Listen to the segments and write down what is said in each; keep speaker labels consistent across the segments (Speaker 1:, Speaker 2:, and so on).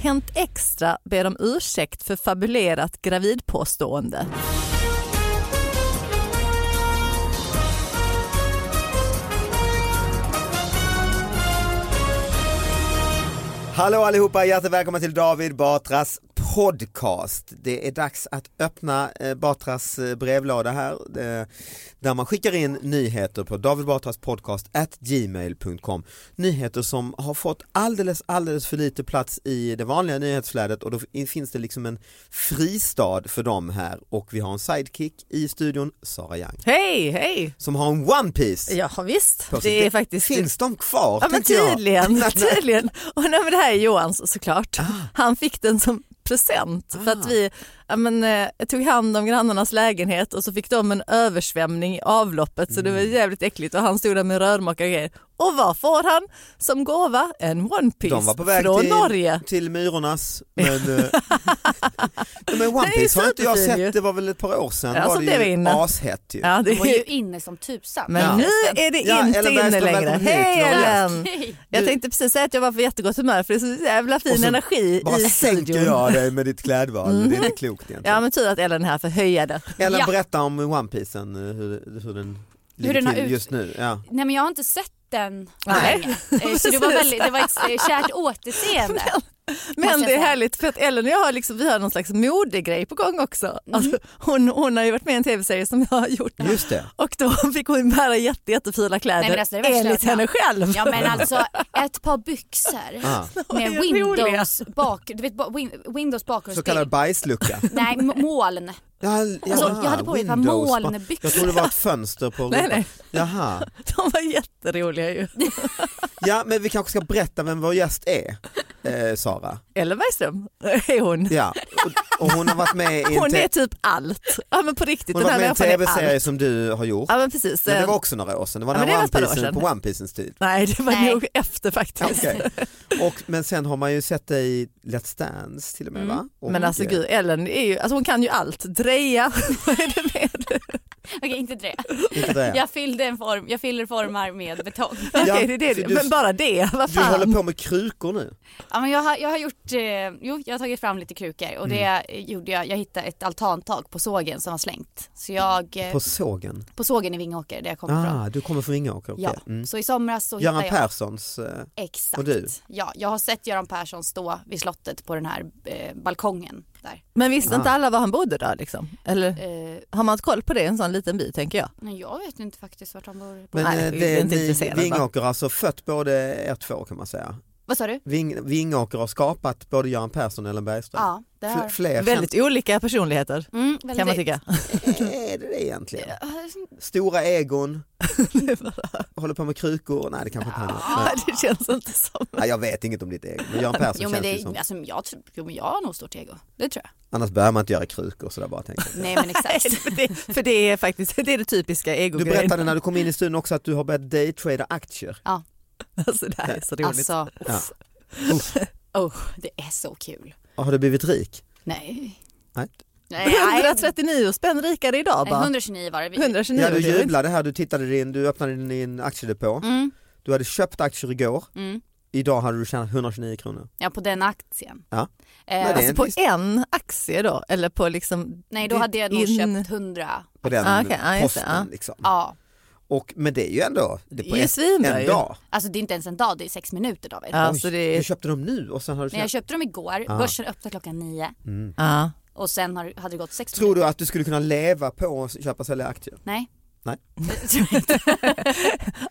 Speaker 1: Hänt Extra ber om ursäkt för fabulerat gravidpåstående.
Speaker 2: Hallå allihopa, hjärtligt välkomna till David Batras podcast. Det är dags att öppna eh, Batras eh, brevlåda här eh, där man skickar in nyheter på David Batras podcast at gmail.com. Nyheter som har fått alldeles, alldeles för lite plats i det vanliga nyhetsflödet och då f- finns det liksom en fristad för dem här och vi har en sidekick i studion, Sara Young,
Speaker 1: Hej, hej!
Speaker 2: som har en One Piece.
Speaker 1: Ja visst,
Speaker 2: på sig.
Speaker 1: det är faktiskt...
Speaker 2: Finns de kvar?
Speaker 1: Ja men
Speaker 2: tänkte jag.
Speaker 1: tydligen, tydligen. Och nej, men det här är Johans såklart.
Speaker 2: Ah.
Speaker 1: Han fick den som present för att vi ja, men, eh, tog hand om grannarnas lägenhet och så fick de en översvämning i avloppet så det var
Speaker 2: Mm.
Speaker 1: jävligt äckligt och han stod där med rörmokare och grejer. Och vad får han som gåva? En One Piece
Speaker 2: De var på väg
Speaker 1: från
Speaker 2: till,
Speaker 1: Norge.
Speaker 2: till Myrornas men, eh, men One
Speaker 1: ju
Speaker 2: Piece har inte jag
Speaker 1: superfin ju.
Speaker 2: sett, det var väl ett par år sedan,
Speaker 1: Ja,
Speaker 2: var
Speaker 1: så
Speaker 2: det
Speaker 1: blev
Speaker 2: ju
Speaker 1: vi inne.
Speaker 2: ashett ju.
Speaker 1: Ja, det
Speaker 3: De var ju
Speaker 1: är,
Speaker 3: inne som tusan.
Speaker 1: men nu är det
Speaker 2: Ja,
Speaker 1: inte
Speaker 2: Ellen
Speaker 1: inne
Speaker 2: Bergström,
Speaker 1: längre.
Speaker 2: välkommen hit,
Speaker 1: Hej
Speaker 2: Lotta.
Speaker 1: Ellen!
Speaker 3: Hej.
Speaker 1: Jag tänkte precis säga att jag var på jättegott humör för det är så jävla
Speaker 2: Och
Speaker 1: fin
Speaker 2: så
Speaker 1: energi
Speaker 2: Bara
Speaker 1: i
Speaker 2: sänker
Speaker 1: studion. Mm.
Speaker 2: jag dig med ditt klädval, det är inte klokt egentligen.
Speaker 1: Ja men tur att Ellen är här för höjade.
Speaker 2: Ellen
Speaker 3: Ja.
Speaker 2: berätta om One Piece eh, hur, hur den ligger
Speaker 3: den har
Speaker 2: till
Speaker 3: ut-
Speaker 2: just nu. Ja.
Speaker 3: Nej men jag har inte sett den på
Speaker 1: Nej.
Speaker 3: länge. Eh, Så det var, väldigt, det var ett eh, kärt återseende.
Speaker 1: Men
Speaker 3: Måste jag
Speaker 1: det är
Speaker 3: säga.
Speaker 1: härligt för att Ellen och jag har, liksom, vi har någon slags modegrej på gång också.
Speaker 3: Mm.
Speaker 1: Alltså, hon, hon har ju varit med i en tv-serie som jag har gjort.
Speaker 2: Just det.
Speaker 1: Och då fick hon bära jätte, jättefina
Speaker 3: Nej,
Speaker 1: kläder
Speaker 3: men alltså, det är det värsta
Speaker 1: enligt
Speaker 3: jag har
Speaker 1: henne
Speaker 3: hört.
Speaker 1: själv.
Speaker 3: Ja men alltså ett par byxor
Speaker 2: Ah.
Speaker 1: Det
Speaker 3: med
Speaker 1: är roliga.
Speaker 3: Windows, bak, du vet, ba- win, Windows
Speaker 2: Så kallad
Speaker 3: bakgrundsbild.
Speaker 2: bajslucka.
Speaker 3: Nej m- moln.
Speaker 2: Ja,
Speaker 1: Alltså,
Speaker 2: jaha,
Speaker 3: jag hade på mig ett par
Speaker 2: Windows, ba-
Speaker 3: molnbyxor.
Speaker 2: Jag trodde det var ett fönster på
Speaker 1: Nej,
Speaker 2: rumpan.
Speaker 1: nej.
Speaker 2: Jaha.
Speaker 1: De var jätteroliga ju.
Speaker 2: Ja men vi kanske ska berätta vem vår gäst är, eh, Sara.
Speaker 1: Ellen Bergström är hon.
Speaker 2: Ja. Och, och hon har varit med i en,
Speaker 1: Hon
Speaker 2: te-
Speaker 1: är typ allt. Ja men på riktigt,
Speaker 2: hon
Speaker 1: den
Speaker 2: har
Speaker 1: här
Speaker 2: varit med i en
Speaker 1: människan är
Speaker 2: tv-serie
Speaker 1: allt.
Speaker 2: som du har gjort.
Speaker 1: Ja men precis.
Speaker 2: Men det var också några år sedan, det var
Speaker 1: Ja,
Speaker 2: när
Speaker 1: men det var
Speaker 2: One
Speaker 1: ett par år
Speaker 2: Piece,
Speaker 1: sedan.
Speaker 2: på One Piece tid.
Speaker 1: Nej det var
Speaker 3: Nej.
Speaker 1: nog efter faktiskt.
Speaker 2: Okej. Och, men sen har man ju sett dig i Let's Dance till och med va? Och
Speaker 1: Men alltså
Speaker 2: mycket.
Speaker 1: gud, Ellen är ju, alltså hon kan ju allt. Dreja, vad är det med?
Speaker 3: Okej inte det.
Speaker 2: Inte det.
Speaker 3: Jag fyllde en form, jag fyller formar med betong.
Speaker 2: Ja,
Speaker 1: det, är det,
Speaker 2: för
Speaker 1: det.
Speaker 2: du-
Speaker 1: Men bara det, vad
Speaker 2: Du
Speaker 1: fan.
Speaker 2: håller på med krukor nu.
Speaker 3: Ja men jag har, jag har gjort, eh, jo jag har tagit fram lite krukor och det
Speaker 2: Mm.
Speaker 3: eh, gjorde jag, jag hittade ett altantag på sågen som var slängt. Så jag, eh,
Speaker 2: På
Speaker 3: på,
Speaker 2: sågen.
Speaker 3: sågen i Vingåker där jag kommer ifrån.
Speaker 2: Ah, du kommer från Vingåker, okej.
Speaker 3: Ja,
Speaker 2: Mm.
Speaker 3: så i somras så
Speaker 2: Göran
Speaker 3: hittade jag
Speaker 2: Perssons, eh,
Speaker 3: Exakt.
Speaker 2: Och du?
Speaker 3: Ja, jag har sett Göran Persson stå vid slottet på den här eh, balkongen. Där.
Speaker 1: Men visste inte
Speaker 2: Ah.
Speaker 1: alla var han bodde då liksom? Eller
Speaker 3: Eh,
Speaker 1: har man ett koll på det i en sån liten by tänker jag?
Speaker 3: nej, jag vet inte faktiskt vart han bor.
Speaker 2: men
Speaker 1: Nej,
Speaker 2: eh,
Speaker 1: vi
Speaker 2: det
Speaker 1: är
Speaker 2: är
Speaker 1: inte
Speaker 2: ni,
Speaker 1: intresserade, va?
Speaker 2: Vingåker har alltså fött både er två kan man säga.
Speaker 3: Vad sa du?
Speaker 2: Ving, Vingåker har skapat både Göran Persson och Ellen Bergström.
Speaker 3: Ja, det
Speaker 2: Fl-
Speaker 3: har
Speaker 2: fler
Speaker 1: Väldigt olika personligheter
Speaker 3: mm, väldigt. alltså,
Speaker 1: kan man tycka.
Speaker 2: Känns, är det det egentligen? Stora egon, håller på med krukor, nej det kanske inte han gör. Nej.
Speaker 1: det känns inte som.
Speaker 2: Nej, jag vet inget om ditt egon, men Göran Persson
Speaker 3: Jo men,
Speaker 2: känns ju
Speaker 3: det,
Speaker 2: som,
Speaker 3: alltså, jag, tror- jo men jag har nog stort ego, det tror jag.
Speaker 2: annars behöver man inte göra krukor sådär bara tänker jag.
Speaker 3: Nej men exakt.
Speaker 1: För det, för det är faktiskt det, är det typiska
Speaker 2: Du
Speaker 1: egogrejen.
Speaker 2: berättade när du kom in i studion också att du har börjat daytrada aktier.
Speaker 1: Alltså det här är så roligt.
Speaker 3: alltså, uff.
Speaker 2: Uff.
Speaker 3: oh, det är så kul.
Speaker 2: Och Har du blivit rik?
Speaker 3: Nej.
Speaker 2: Nej.
Speaker 3: Nej, nej.
Speaker 1: 139 spänn rikare idag
Speaker 3: Nej,
Speaker 1: bara.
Speaker 3: 129 var det. Vi-
Speaker 1: 129
Speaker 2: Ja, du
Speaker 1: det är ju-
Speaker 2: jublade här, du tittade din, du öppnade din aktiedepå.
Speaker 3: Mm,
Speaker 2: Du hade köpt aktier igår,
Speaker 3: mm.
Speaker 2: idag hade du tjänat 129 kronor.
Speaker 3: Ja, på den aktien.
Speaker 2: Ja.
Speaker 3: Eh,
Speaker 2: Men det-
Speaker 1: Alltså på en aktie då eller på liksom?
Speaker 3: nej, då hade jag nog
Speaker 1: in-
Speaker 3: köpt 100.
Speaker 2: På den
Speaker 1: Ah, okej, ja, just det,
Speaker 2: posten
Speaker 1: ja.
Speaker 2: liksom.
Speaker 3: Ja,
Speaker 2: Och, men det är ju ändå, det är
Speaker 1: Det
Speaker 2: på
Speaker 1: är ju
Speaker 2: en,
Speaker 1: svinbra
Speaker 2: en
Speaker 1: ju.
Speaker 2: dag.
Speaker 3: alltså det är inte ens en dag, det är sex minuter David.
Speaker 1: Ja,
Speaker 2: Oj,
Speaker 1: så det
Speaker 2: Du
Speaker 1: är,
Speaker 2: köpte dem nu och sen har du
Speaker 3: Men jag
Speaker 2: tjänat.
Speaker 3: köpte dem igår,
Speaker 2: Ah.
Speaker 3: börsen öppnade klockan nio
Speaker 2: Mm.
Speaker 1: ja.
Speaker 3: och sen har, hade det gått sex
Speaker 2: Tror
Speaker 3: minuter.
Speaker 2: du att du skulle kunna leva på att köpa och sälja aktier?
Speaker 3: Nej.
Speaker 2: Nej.
Speaker 3: Det tror jag inte.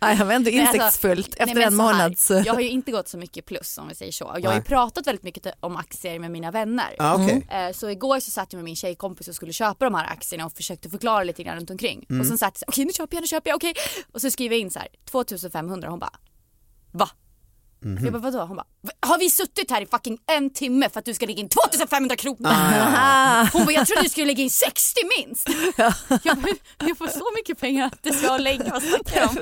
Speaker 1: Nej, han var ändå
Speaker 3: Nej, alltså,
Speaker 1: insiktsfullt
Speaker 3: Nej,
Speaker 1: efter
Speaker 3: men
Speaker 1: en
Speaker 3: så här,
Speaker 1: månad. Så.
Speaker 3: Jag har ju inte gått så mycket plus om vi säger så. Jag har ju
Speaker 2: Nej.
Speaker 3: pratat väldigt mycket om aktier med mina vänner.
Speaker 2: Ah, okej.
Speaker 1: Mm.
Speaker 3: Eh, Så igår så satt jag med min tjejkompis och skulle köpa de här aktierna och försökte förklara lite grann runt omkring. Och sen satt jag så här, okej nu köper jag, nu köper jag, okej. Och så skriver jag in så här 2500 hon bara va? Jag bara vadå? Hon bara "Va- har vi suttit här i fucking en timme för att du ska lägga in 2500 kronor? Hon bara jag trodde du skulle lägga in 60 minst. Jag bara, "Hur- jag får så mycket pengar att det ska jag lägga, vad snackar jag om?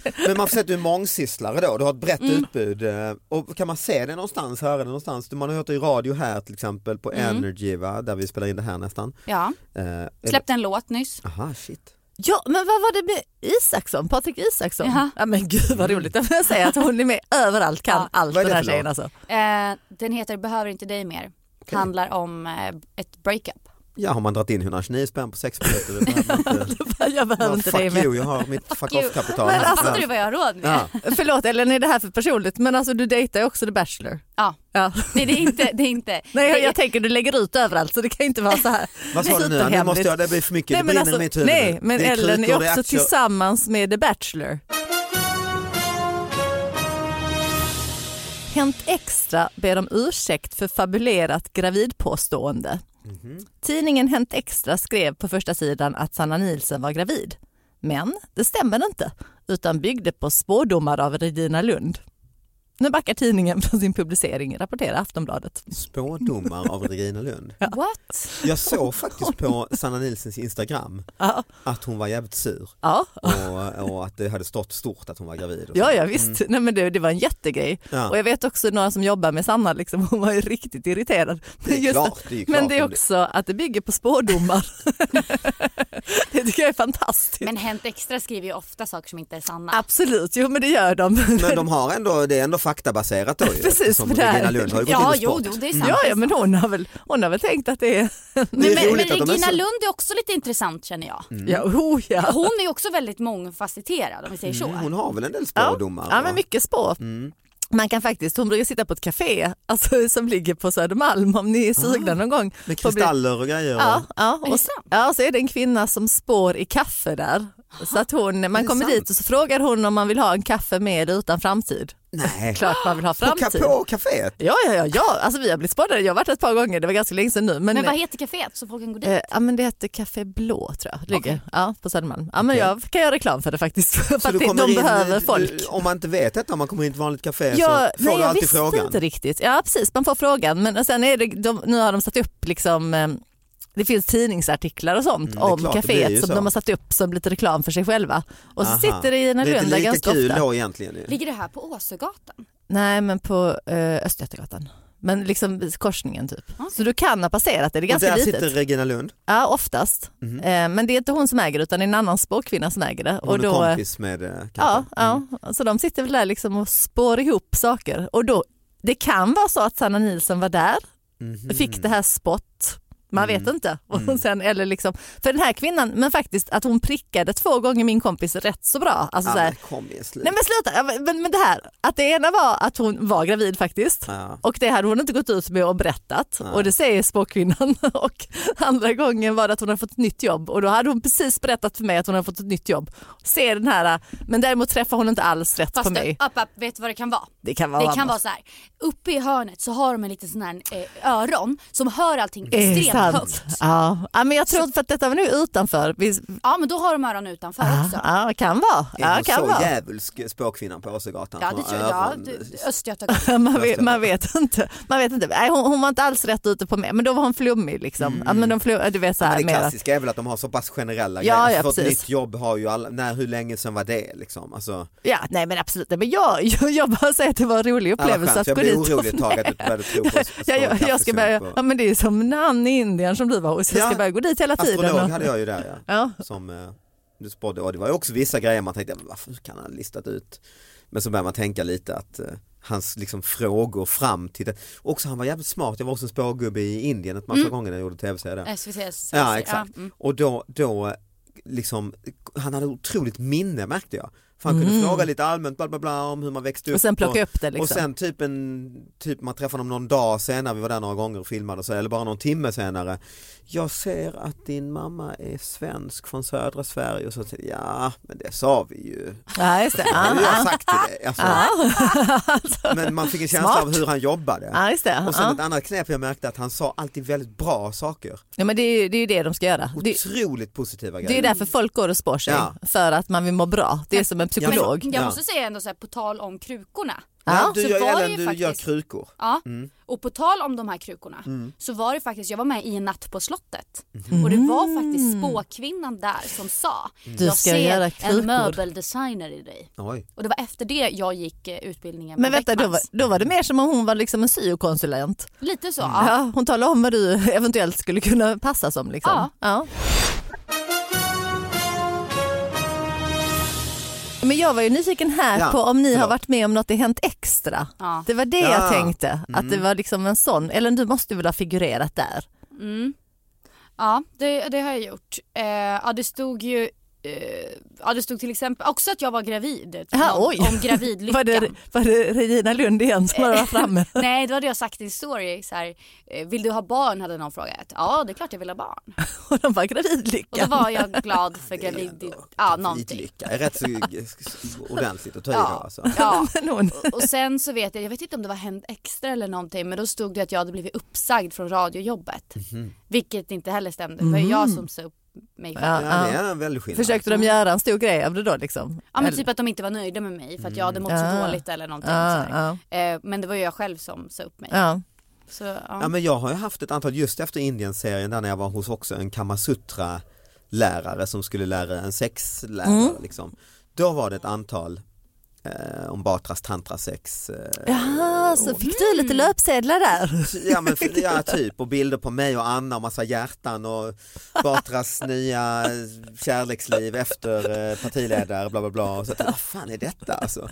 Speaker 2: Men man får säga att du är mångsysslare då, du har ett brett
Speaker 1: Mm.
Speaker 2: utbud. eh, Och kan man se det någonstans, höra det någonstans? Man har hört det i radio här till exempel på
Speaker 1: Mm.
Speaker 2: Energy va, där vi spelar in det här nästan.
Speaker 3: Ja,
Speaker 2: Eh, eller-
Speaker 3: släppte en låt nyss.
Speaker 2: Aha, shit.
Speaker 1: Ja, men vad var det med Isaksson? Patrik Isaksson?
Speaker 3: Jaha.
Speaker 1: Ja, men gud vad roligt, jag får säga att hon är med överallt, kan
Speaker 3: Ja.
Speaker 1: allt
Speaker 2: Vad är
Speaker 1: den
Speaker 2: det
Speaker 1: här
Speaker 2: för
Speaker 1: tjejen
Speaker 2: låt?
Speaker 1: alltså.
Speaker 3: Eh, den heter Behöver inte dig mer. Handlar om eh, ett breakup.
Speaker 2: Ja, har man dragit in 129 spänn på sex minuter? Det behöver man inte.
Speaker 1: Jag behöver
Speaker 2: Ja,
Speaker 1: inte dig
Speaker 2: fuck
Speaker 1: med.
Speaker 2: you, jag har mitt fuck
Speaker 3: you.
Speaker 2: off-kapital.
Speaker 3: Men
Speaker 2: här.
Speaker 3: alltså,
Speaker 2: Ja.
Speaker 3: du vad jag har råd med?
Speaker 2: Ja.
Speaker 1: Förlåt Ellen, är det här för personligt? Men alltså du dejtar ju också The Bachelor.
Speaker 3: Ja.
Speaker 1: Ja.
Speaker 3: Nej det är inte, det är inte.
Speaker 1: Nej, jag,
Speaker 3: det är,
Speaker 1: jag tänker du lägger ut överallt så det kan inte vara så här
Speaker 2: Vad sa du nu? nu måste jag, det blir för mycket,
Speaker 1: Nej
Speaker 2: det brinner
Speaker 1: men,
Speaker 2: i mitt
Speaker 1: alltså,
Speaker 2: huvud.
Speaker 1: nej, men
Speaker 2: det
Speaker 1: Ellen
Speaker 2: krukor,
Speaker 1: är
Speaker 2: det
Speaker 1: också
Speaker 2: aktier.
Speaker 1: tillsammans med The Bachelor. Hänt Extra ber om ursäkt för fabulerat gravidpåstående.
Speaker 2: Mhm.
Speaker 1: Tidningen Hänt Extra skrev på första sidan att Sanna Nielsen var gravid. Men det stämmer inte, utan byggde på spådomar av Regina Lund. Nu backar tidningen från sin publicering, rapporterar Aftonbladet.
Speaker 2: Spådomar av Regina Lund.
Speaker 3: What?
Speaker 2: Jag såg faktiskt på Sanna Nilsens Instagram att hon var jävligt sur
Speaker 1: Ja,
Speaker 2: och, och att det hade stått stort att hon var gravid. och så. Mm.
Speaker 1: Ja, ja visst. Nej, men det, det var en jättegrej.
Speaker 2: Ja.
Speaker 1: Och jag vet också några som jobbar med Sanna, liksom, hon var ju riktigt irriterad.
Speaker 2: Det är
Speaker 1: Just-
Speaker 2: klart, det är ju klart
Speaker 1: men det är
Speaker 2: hon blir-
Speaker 1: också att det bygger på spårdomar. det tycker jag är fantastiskt.
Speaker 3: Men Hänt Extra skriver ju ofta saker som inte är sanna.
Speaker 1: Absolut, jo men det gör de.
Speaker 2: Men de har ändå, det är ändå faktabaserat då ju,
Speaker 1: Precis,
Speaker 2: eftersom
Speaker 1: för det här-
Speaker 2: Regina Lund har ju gått
Speaker 3: ja,
Speaker 2: in
Speaker 3: jo,
Speaker 2: och
Speaker 3: jo,
Speaker 2: spått.
Speaker 3: det är sant.
Speaker 1: Mm. ja, ja, men hon har, väl, hon har väl tänkt att det är...
Speaker 2: Det är
Speaker 3: men, men
Speaker 2: roligt att de är
Speaker 3: Regina
Speaker 2: så-
Speaker 3: Lund är också lite intressant känner jag.
Speaker 2: Mm.
Speaker 1: Ja, oh, ja.
Speaker 3: Hon är ju också väldigt mångfacetterad om vi säger
Speaker 1: Mm,
Speaker 3: så.
Speaker 2: Hon har väl en del
Speaker 1: Ja.
Speaker 2: spådomar? Mm.
Speaker 1: ja,
Speaker 2: va?
Speaker 1: men mycket spår. Man kan faktiskt, hon brukar sitta på ett café alltså, som ligger på Södermalm om ni är sugna någon gång.
Speaker 2: Ah. Med
Speaker 1: på att bli-
Speaker 2: kristaller och grejer.
Speaker 1: Ja,
Speaker 2: och-
Speaker 1: ja,
Speaker 3: Är det
Speaker 1: och, s-
Speaker 3: sant?
Speaker 1: ja, och så är det en kvinna som spår i kaffe där. Så att hon, man
Speaker 2: det
Speaker 1: kommer
Speaker 2: sant?
Speaker 1: dit och så frågar hon om man vill ha en kaffe med eller utan framtid.
Speaker 2: Nej,
Speaker 1: Klart man vill ha
Speaker 2: på,
Speaker 1: framtid.
Speaker 2: på kaféet.
Speaker 1: Ja, ja, ja, ja. Alltså, vi har blivit spådade. Jag har varit där ett par gånger, det var ganska länge sedan nu. Men,
Speaker 3: Men vad heter kaféet så folk kan gå dit?
Speaker 1: eh, ja, men det heter Café Blå tror jag, ligger ja, på Södermalm. Ja, men
Speaker 2: Okej.
Speaker 1: Jag kan göra reklam för det faktiskt, för
Speaker 2: Så
Speaker 1: att
Speaker 2: du
Speaker 1: det,
Speaker 2: kommer
Speaker 1: de
Speaker 2: in-
Speaker 1: behöver
Speaker 2: du-
Speaker 1: folk.
Speaker 2: Om man inte vet detta, om man kommer in i ett vanligt café
Speaker 1: Ja,
Speaker 2: så Alltså, får
Speaker 1: nej,
Speaker 2: du
Speaker 1: jag
Speaker 2: alltid
Speaker 1: visste
Speaker 2: frågan.
Speaker 1: inte riktigt. Ja precis, man får frågan. Men sen är det, de, nu har de satt upp liksom eh, det finns tidningsartiklar och sånt
Speaker 2: Mm, det är
Speaker 1: om
Speaker 2: klart, det blir
Speaker 1: kaféet
Speaker 2: ju
Speaker 1: som
Speaker 2: så.
Speaker 1: de har satt upp som lite reklam för sig själva. Och så
Speaker 2: Aha.
Speaker 1: sitter det i en
Speaker 2: Det är
Speaker 1: Lund
Speaker 2: inte
Speaker 1: där
Speaker 2: lika
Speaker 1: ganska
Speaker 2: kul
Speaker 1: ofta.
Speaker 2: då egentligen. ju.
Speaker 3: Ligger det här på Åsögatan?
Speaker 1: Nej men på eh, Östgötagatan. Men liksom korsningen typ. Så du kan ha passerat det, det är
Speaker 2: Och där
Speaker 1: ganska litet.
Speaker 2: sitter Regina Lund,
Speaker 1: Ja oftast. Eh, men det är inte hon som äger det utan det är en annan spåkvinna som äger det.
Speaker 2: hon är kompis med eh, kanske. Mm.
Speaker 1: Ja, ja, så de sitter väl där liksom och spår ihop saker. Och då, det kan vara så att Sanna Nilsson var där,
Speaker 2: Mhm.
Speaker 1: fick det här spott. Man
Speaker 2: Mm.
Speaker 1: vet inte. Och sen, eller liksom, för den här kvinnan, men faktiskt att hon prickade två gånger min kompis rätt så bra. Alltså,
Speaker 2: Ja,
Speaker 1: så här,
Speaker 2: men kom igen, sluta.
Speaker 1: nej men sluta, Ja, men, men det här, att det ena var att hon var gravid faktiskt.
Speaker 2: Ja.
Speaker 1: Och det hade hon inte gått ut med och berättat och det säger spåkvinnan. Och andra gången var det att hon hade fått ett nytt jobb och då hade hon precis berättat för mig att hon hade fått ett nytt jobb. Se den här, men däremot träffar hon inte alls rätt på
Speaker 3: Fast
Speaker 1: mig.
Speaker 3: upp, upp, vet du vad det kan vara?
Speaker 1: Det kan vara
Speaker 3: Det kan
Speaker 1: annat.
Speaker 3: vara så här. uppe i hörnet så har de en liten sån här eh, öron som hör allting
Speaker 1: Är det
Speaker 3: extremt
Speaker 1: Eh, sant?
Speaker 3: högt.
Speaker 1: Ja. ja, men jag tror för att detta var nu utanför. Vi,
Speaker 3: Ja men då har de öron utanför
Speaker 1: Ah.
Speaker 3: också.
Speaker 1: ja, kan vara.
Speaker 2: Är
Speaker 1: Ja,
Speaker 2: hon
Speaker 1: kan
Speaker 2: så
Speaker 1: vara.
Speaker 2: djävulsk spåkvinnan på Åsögatan?
Speaker 3: Ja,
Speaker 2: Hon
Speaker 3: det
Speaker 2: har
Speaker 3: tror jag. Ja,
Speaker 2: öron-
Speaker 3: du- Östgötagatan.
Speaker 1: Man vet, man vet inte. Man vet inte. Nej, hon, hon var inte alls rätt ute på mig, men då var hon flummig. Liksom. Ja, men de flum, du vet, så här,
Speaker 2: Mm. Det
Speaker 1: mer att-
Speaker 2: klassiska är väl att de har så pass generella
Speaker 1: Ja,
Speaker 2: grejer.
Speaker 1: ja,
Speaker 2: Alltså, ett
Speaker 1: precis.
Speaker 2: nytt jobb har ju alla, när, hur länge sedan var det liksom? Alltså,
Speaker 1: Ja, nej men absolut. Nej, men jag, jag, jag bara säger att det var en rolig
Speaker 2: alla
Speaker 1: upplevelse
Speaker 2: chans.
Speaker 1: att
Speaker 2: Jag
Speaker 1: gå
Speaker 2: blir
Speaker 1: dit.
Speaker 2: orolig ett tag att du började tro på
Speaker 1: Ja, jag, jag ska börja, ja, men det är som när han är Indien som du var hos. Jag ska
Speaker 2: Ja.
Speaker 1: börja gå dit hela tiden.
Speaker 2: Astrolog hade jag ju där ja.
Speaker 1: Ja.
Speaker 2: Som eh, du spådde och det var ju också vissa grejer man tänkte, "Men varför kan han listat ut? Men så började man tänka lite att eh, hans liksom frågor fram till det. Också han var jävligt smart, jag var också en spågubbe i Indien ett massa
Speaker 1: Mm.
Speaker 2: gånger när jag gjorde tv-serier där.
Speaker 3: SVT. SVT.
Speaker 2: Ja exakt.
Speaker 3: mm.
Speaker 2: Och då, då liksom, han hade otroligt minne märkte jag. För han kunde fråga lite allmänt bla, bla, bla, om hur man växte upp.
Speaker 1: Mm. Och sen plocka upp det liksom.
Speaker 2: Och sen typ en, typ man träffade honom någon dag senare, vi var där några gånger och filmade och så, eller bara någon timme senare. Jag ser att din mamma är svensk från södra Sverige och så säger jag, ja men det sa vi ju.
Speaker 1: Ja, just det.
Speaker 2: Det
Speaker 1: Ja,
Speaker 2: har jag sagt till dig. Alltså, Men man fick en
Speaker 1: Ah.
Speaker 2: känsla
Speaker 1: Smart. Ah,
Speaker 2: av hur han jobbade.
Speaker 1: ja, just det.
Speaker 2: Och sen
Speaker 1: Ja.
Speaker 2: ett annat knep jag märkte att han sa alltid väldigt bra saker.
Speaker 1: Ja, men det, är ju, det är ju det de ska göra. Det,
Speaker 2: Otroligt positiva grejer.
Speaker 1: det är ju därför folk går och spår sig.
Speaker 2: Ja.
Speaker 1: För att man vill må bra. Det är som en
Speaker 3: Men
Speaker 1: psykolog.
Speaker 3: jag
Speaker 2: Ja.
Speaker 3: måste säga ändå så här, på tal om krukorna.
Speaker 2: Ja, du
Speaker 3: Så
Speaker 2: gör,
Speaker 3: var det
Speaker 2: även,
Speaker 3: ju
Speaker 2: du gör Mm.
Speaker 3: faktiskt-
Speaker 2: krukor.
Speaker 3: Ja. Och på tal om de här krukorna
Speaker 2: Mm.
Speaker 3: så var det faktiskt, jag var med i en natt på slottet och det var faktiskt spåkvinnan där som sa
Speaker 2: Mm.
Speaker 3: Jag
Speaker 1: Mm. ska
Speaker 3: ser
Speaker 1: göra krukor."
Speaker 3: en möbeldesigner i dig.
Speaker 2: Oj.
Speaker 3: Och det var efter det jag gick eh, utbildningen
Speaker 1: Men
Speaker 3: på
Speaker 1: vänta, då var,
Speaker 3: Beckmans.
Speaker 1: då var det mer som om hon var liksom en syokonsulent.
Speaker 3: Lite så.
Speaker 1: Mm. Ja.
Speaker 3: Ja.
Speaker 1: hon talade om vad du eventuellt skulle kunna passa som. Liksom.
Speaker 3: Ja.
Speaker 1: Men jag var ju nyfiken här
Speaker 2: Ja,
Speaker 1: på om ni har
Speaker 2: förlåt.
Speaker 1: varit med om något i Hänt Extra.
Speaker 3: Ja.
Speaker 1: Det var det
Speaker 2: Ja.
Speaker 1: jag tänkte, att det var liksom en sån. Eller du måste väl ha figurerat där?
Speaker 3: Ja, det, det har jag gjort. Eh, ja, det stod ju eh, Ja det stod till exempel också att jag var gravid. typ,
Speaker 1: Ja,
Speaker 3: om,
Speaker 1: oj.
Speaker 3: om gravidlyckan.
Speaker 1: Var det, var det Regina Lund igen som var framme?
Speaker 3: Nej det hade jag sagt i en story. Så här, eh, vill du ha barn hade någon frågat. Ja det är klart jag vill ha barn.
Speaker 1: Och de var
Speaker 3: Och då
Speaker 1: gravidlyckan.
Speaker 3: var jag glad för gravid... Ja någonting.
Speaker 2: Favoritlycka. Är rätt så ordentligt att ta i då
Speaker 3: Ja.
Speaker 2: alltså.
Speaker 3: Ja.
Speaker 1: Men hon,
Speaker 3: Och sen så vet jag, jag vet inte om det var Hänt Extra eller någonting men då stod det att jag hade blivit uppsagd från radiojobbet. Vilket inte heller stämde för det var jag som sa upp mig själv.
Speaker 1: Mhm. ja,
Speaker 2: Ja,
Speaker 1: ja.
Speaker 2: det är en väldig skillnad.
Speaker 1: Försökte de göra en stor grej av det då? Liksom?
Speaker 3: Ja men
Speaker 1: Eller-
Speaker 3: typ att de inte var nöjda med mig för att jag hade mått så
Speaker 1: Ah.
Speaker 3: dåligt eller någonting.
Speaker 1: Ah,
Speaker 3: så här. Eh, men det var ju jag själv som sa upp mig.
Speaker 1: ja.
Speaker 3: Så, ja.
Speaker 2: Ja, men jag har ju haft ett antal, just efter Indien-serien där när jag var hos också en kamasutra lärare som skulle lära en sexlärare. Liksom. Då var det ett antal eh, om Batras tantrasex. Eh,
Speaker 1: Jaha, så fick du lite löpsedlar där?
Speaker 2: ja, men, ja, typ och bilder på mig och Anna och massa hjärtan och Batras nya kärleksliv efter eh, partiledare bla bla bla. Och så, vad fan är detta alltså?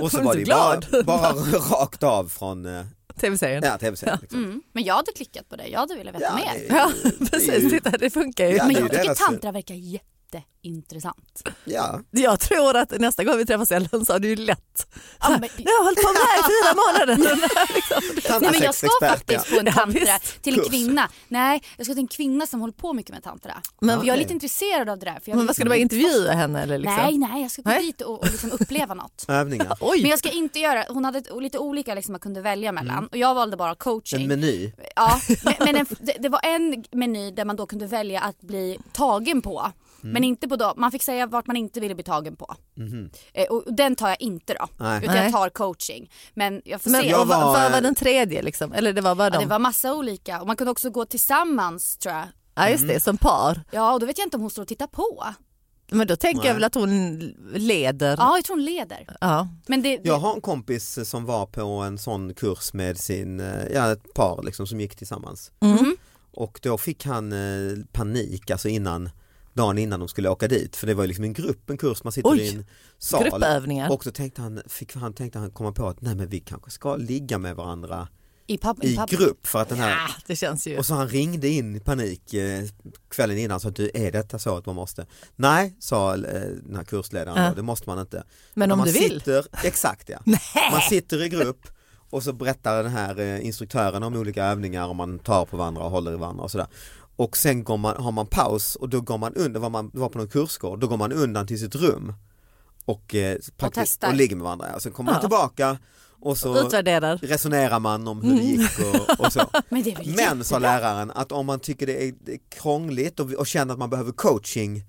Speaker 2: Och så
Speaker 1: Hon är
Speaker 2: var
Speaker 1: så
Speaker 2: det ju bara,
Speaker 1: glad.
Speaker 2: bara rakt av från eh,
Speaker 1: Tv-serien?
Speaker 2: ja, tv-serien. Liksom.
Speaker 3: Mm. men jag hade klickat på det, jag hade velat veta
Speaker 2: Ja,
Speaker 3: mer.
Speaker 2: det-
Speaker 1: Ja,
Speaker 2: det är ju-
Speaker 1: precis. Titta, det funkar ju.
Speaker 2: Ja,
Speaker 3: men
Speaker 2: det är
Speaker 3: jag
Speaker 2: ju
Speaker 3: tycker
Speaker 2: deras-
Speaker 3: tantra verkar jätteintressant.
Speaker 2: Ja.
Speaker 1: Jag tror att nästa gång vi träffas Ellen så har du ju lätt.
Speaker 3: Ja, men-
Speaker 1: Nu har jag hållit på med det här i fyra månader.
Speaker 3: Nej men jag ska
Speaker 2: Tantrasexexpert,
Speaker 3: faktiskt på en
Speaker 1: Ja,
Speaker 3: tantra
Speaker 1: visst.
Speaker 3: till en
Speaker 2: Kurs.
Speaker 3: kvinna. Nej, jag ska till en kvinna som håller på mycket med tantra. Men jag är lite intresserad av det där. För jag liksom-
Speaker 1: Men vad ska du bara intervjua henne eller liksom?
Speaker 3: Nej, nej, jag ska gå
Speaker 1: Nej.
Speaker 3: dit och, och liksom uppleva något.
Speaker 2: ja. Övningar.
Speaker 1: Oj,
Speaker 3: Men jag ska inte göra, hon hade ett- lite olika liksom man kunde välja mellan och jag valde bara coaching.
Speaker 2: En meny.
Speaker 3: Ja, men, men en, det, det var en meny där man då kunde välja att bli tagen på.
Speaker 1: Mm.
Speaker 3: Men inte på då, man fick säga vart man inte ville bli tagen på. Eh, och och den tar jag inte då.
Speaker 2: Nej.
Speaker 3: Utan
Speaker 1: Mhm. Nej.
Speaker 3: jag tar coaching. Men jag får
Speaker 1: men
Speaker 3: se.
Speaker 1: jag
Speaker 2: jag
Speaker 1: var,
Speaker 2: var-
Speaker 1: var, var den tredje liksom? Eller det var bara
Speaker 3: Ja, det
Speaker 1: de?
Speaker 3: var massa olika och man kunde också gå tillsammans tror jag.
Speaker 1: Ja just
Speaker 3: Mm.
Speaker 1: det, som par.
Speaker 3: Ja och då vet jag inte om hon står och tittar på.
Speaker 1: Men då tänker jag
Speaker 2: Nej.
Speaker 1: väl att hon leder.
Speaker 3: Ja jag tror hon leder.
Speaker 1: Ja.
Speaker 3: Men det, det,
Speaker 1: Mm.
Speaker 2: Jag har en kompis som var på en sån kurs med sin, eh, ja ett par liksom som gick tillsammans.
Speaker 1: Mm.
Speaker 2: Och då fick han eh, panik, alltså innan, dagen innan de skulle åka dit. För det var ju liksom en grupp, en kurs, man sitter
Speaker 1: Oj.
Speaker 2: i en sal.
Speaker 1: Gruppövningar.
Speaker 2: Och då tänkte han, fick han, tänkte han komma på att nej men vi kanske ska ligga med varandra
Speaker 3: i, pub,
Speaker 2: i
Speaker 3: pub-
Speaker 2: grupp för att den här
Speaker 1: Ah, det känns ju...
Speaker 2: Och så han ringde in i panik eh, kvällen innan så att du är detta så att man måste? Nej, sa eh, den här kursledaren,
Speaker 1: Ja.
Speaker 2: då, det måste man inte.
Speaker 1: Men
Speaker 2: Utan
Speaker 1: om
Speaker 2: man
Speaker 1: du vill?
Speaker 2: Sitter, exakt ja. Man sitter i grupp och så berättar den här eh, instruktören om olika övningar och man tar på varandra och håller i varandra och sådär. Och sen går man, har man paus och då går man undan, var man var på någon kursgård, då går man undan till sitt rum och, eh, praktiskt,
Speaker 3: testar.
Speaker 2: och, ligger med varandra. Ja. Sen kommer man tillbaka och så
Speaker 1: Utvärderar.
Speaker 2: resonerar man om hur det gick och, och så.
Speaker 3: Men det är väl
Speaker 2: Men sa läraren att om man tycker det är det är krångligt och, och känner att man behöver coaching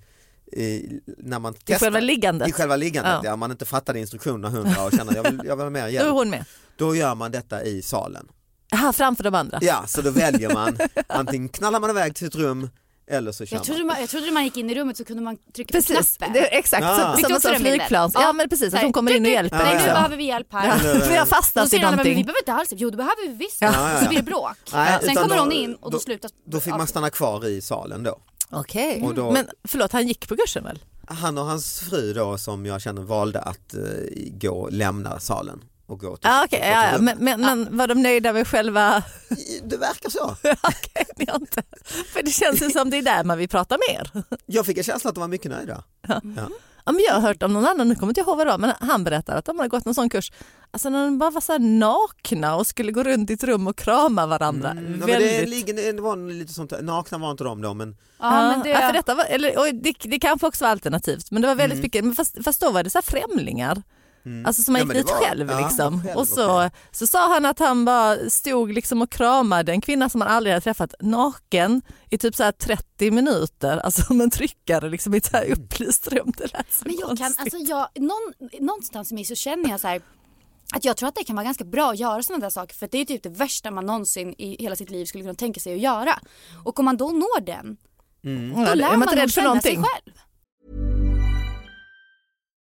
Speaker 2: i, när man testar,
Speaker 1: själva liggandet.
Speaker 2: i själva liggandet,
Speaker 1: Ja.
Speaker 2: ja. man inte fattade instruktionerna hundra och känner jag vill, jag vill ha mer
Speaker 1: Då är
Speaker 2: hjälp,
Speaker 1: hon med.
Speaker 2: då gör man detta i salen.
Speaker 1: Här framför de andra.
Speaker 2: Ja, så då väljer man, antingen knallar man iväg till ett rum Eller så kör
Speaker 3: Jag trodde, man, jag trodde man gick in i rummet så kunde man trycka
Speaker 1: Precis,
Speaker 3: på knappen.
Speaker 1: det är exakt
Speaker 2: Ah.
Speaker 1: så,
Speaker 2: Vilket
Speaker 1: samma
Speaker 3: också
Speaker 1: som
Speaker 3: den bilden.
Speaker 1: flygplans. Ja,
Speaker 3: Ja.
Speaker 1: men precis,
Speaker 3: Så
Speaker 1: att
Speaker 3: här,
Speaker 1: de kommer in och
Speaker 3: tryck,
Speaker 1: hjälper
Speaker 3: Nej nu
Speaker 1: liksom.
Speaker 3: behöver vi hjälp här.
Speaker 1: Ja. Vi har
Speaker 3: Då
Speaker 1: fastnat i
Speaker 3: säger alla, men vi
Speaker 1: någonting.
Speaker 3: behöver inte alls det. Jo det behöver vi visst.
Speaker 2: ja, ja.
Speaker 3: Så blir det bråk.
Speaker 2: Nej,
Speaker 3: Sen
Speaker 2: utan
Speaker 3: kommer
Speaker 2: då-
Speaker 3: någon in och då,
Speaker 2: då-
Speaker 3: slutar...
Speaker 2: Då fick man stanna kvar i salen då.
Speaker 1: Okej,
Speaker 2: Och då-
Speaker 1: men förlåt han gick på kursen väl?
Speaker 2: Han och hans fru då som jag känner valde att eh, gå, lämna salen och gå till,
Speaker 1: Ah, okej,
Speaker 2: gå till
Speaker 1: ja, ja.
Speaker 2: rummet.
Speaker 1: Men, men, men var de nöjda med själva...
Speaker 2: Det verkar så.
Speaker 1: Okej, ni har inte. För det känns ju som det är där man vill prata mer.
Speaker 2: Jag fick en känsla att de var mycket nöjda. Ja.
Speaker 1: Ja, men jag har hört om någon annan, nu kommer inte jag ihåg vad det var, men han berättar att de har gått någon sån kurs. Alltså när de bara var så här nakna och skulle gå runt i ett rum och krama varandra.
Speaker 2: Mm. Ja, men det,
Speaker 1: Väldigt...
Speaker 2: ligger, det var lite sånt, nakna var inte de då men
Speaker 3: Ja, men
Speaker 1: Ja, för
Speaker 3: det...
Speaker 1: Alltså, detta var, eller, och det, det kanske också var alternativt, men det var
Speaker 3: Mm.
Speaker 1: väldigt mycket, men fast, fast då var det så här främlingar. Alltså som man
Speaker 2: Ja,
Speaker 1: gick
Speaker 2: men det
Speaker 1: dit
Speaker 2: var-
Speaker 1: själv.
Speaker 2: ja,
Speaker 1: liksom.
Speaker 2: själv,
Speaker 1: och så,
Speaker 2: okej.
Speaker 1: så sa han att han bara stod liksom och kramade en kvinna som han aldrig hade träffat naken i typ så här 30 minuter, alltså som en tryckare liksom, i ett så här upplyst rum. Det lät så
Speaker 3: Mm. Men jag kan,
Speaker 1: konstigt.
Speaker 3: alltså jag, någon, någonstans i mig så känner jag så här att jag tror att det kan vara ganska bra att göra sådana där saker för det är ju typ det värsta man någonsin i hela sitt liv skulle kunna tänka sig att göra. Och om man då når den, då
Speaker 1: Ja,
Speaker 3: lär
Speaker 1: Mm. är
Speaker 3: man
Speaker 1: inte
Speaker 3: nog
Speaker 1: rädd för
Speaker 3: känna sig
Speaker 1: någonting.
Speaker 3: själv.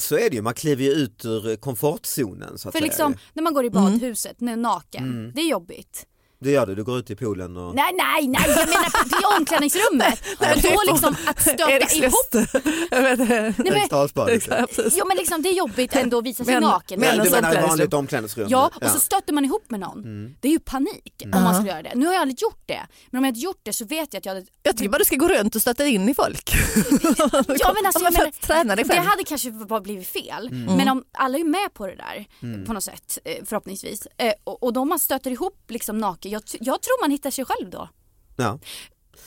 Speaker 2: så är det ju, man kliver ju ut ur eh, komfortzonen så att
Speaker 3: För
Speaker 2: säga.
Speaker 3: liksom när man går
Speaker 1: Mm.
Speaker 3: i badhuset nu naken,
Speaker 2: Mm.
Speaker 3: det är jobbigt.
Speaker 2: Det gör du, du går ut i poolen och
Speaker 3: Nej, nej, nej, jag menar det är omklädningsrummet.
Speaker 1: Nej,
Speaker 3: Och
Speaker 1: det
Speaker 3: då
Speaker 1: är-
Speaker 3: liksom att
Speaker 1: Erik
Speaker 3: stöta
Speaker 1: Slust.
Speaker 3: ihop.
Speaker 1: Jag vet inte.
Speaker 3: Nej, men,
Speaker 2: Eriksdalsbadet.
Speaker 1: Ja, precis.
Speaker 3: jo men liksom det är jobbigt ändå att visa sig
Speaker 1: Men-
Speaker 3: naken.
Speaker 1: men-
Speaker 2: Men du
Speaker 1: ett
Speaker 2: menar ett
Speaker 1: omklädningsrum.
Speaker 2: vanligt omklädningsrum?
Speaker 3: Ja, och så stöter man ihop med någon.
Speaker 1: Mm.
Speaker 3: Det är ju panik om man skulle göra det. Nu har jag aldrig gjort det. Men om jag inte gjort det så vet jag att jag hade...
Speaker 1: Jag tycker bara du ska gå runt och stöta in i folk.
Speaker 3: Ja, men alltså, jag
Speaker 1: för
Speaker 3: menar,
Speaker 1: att träna dig
Speaker 3: det
Speaker 1: själv. Mm.
Speaker 3: hade kanske bara blivit fel. Men om alla är med på det där på något sätt eh, förhoppningsvis. Eh, Och, och då man stöter ihop liksom naken. Jag, t- jag tror man hittar sig själv då.
Speaker 2: Ja.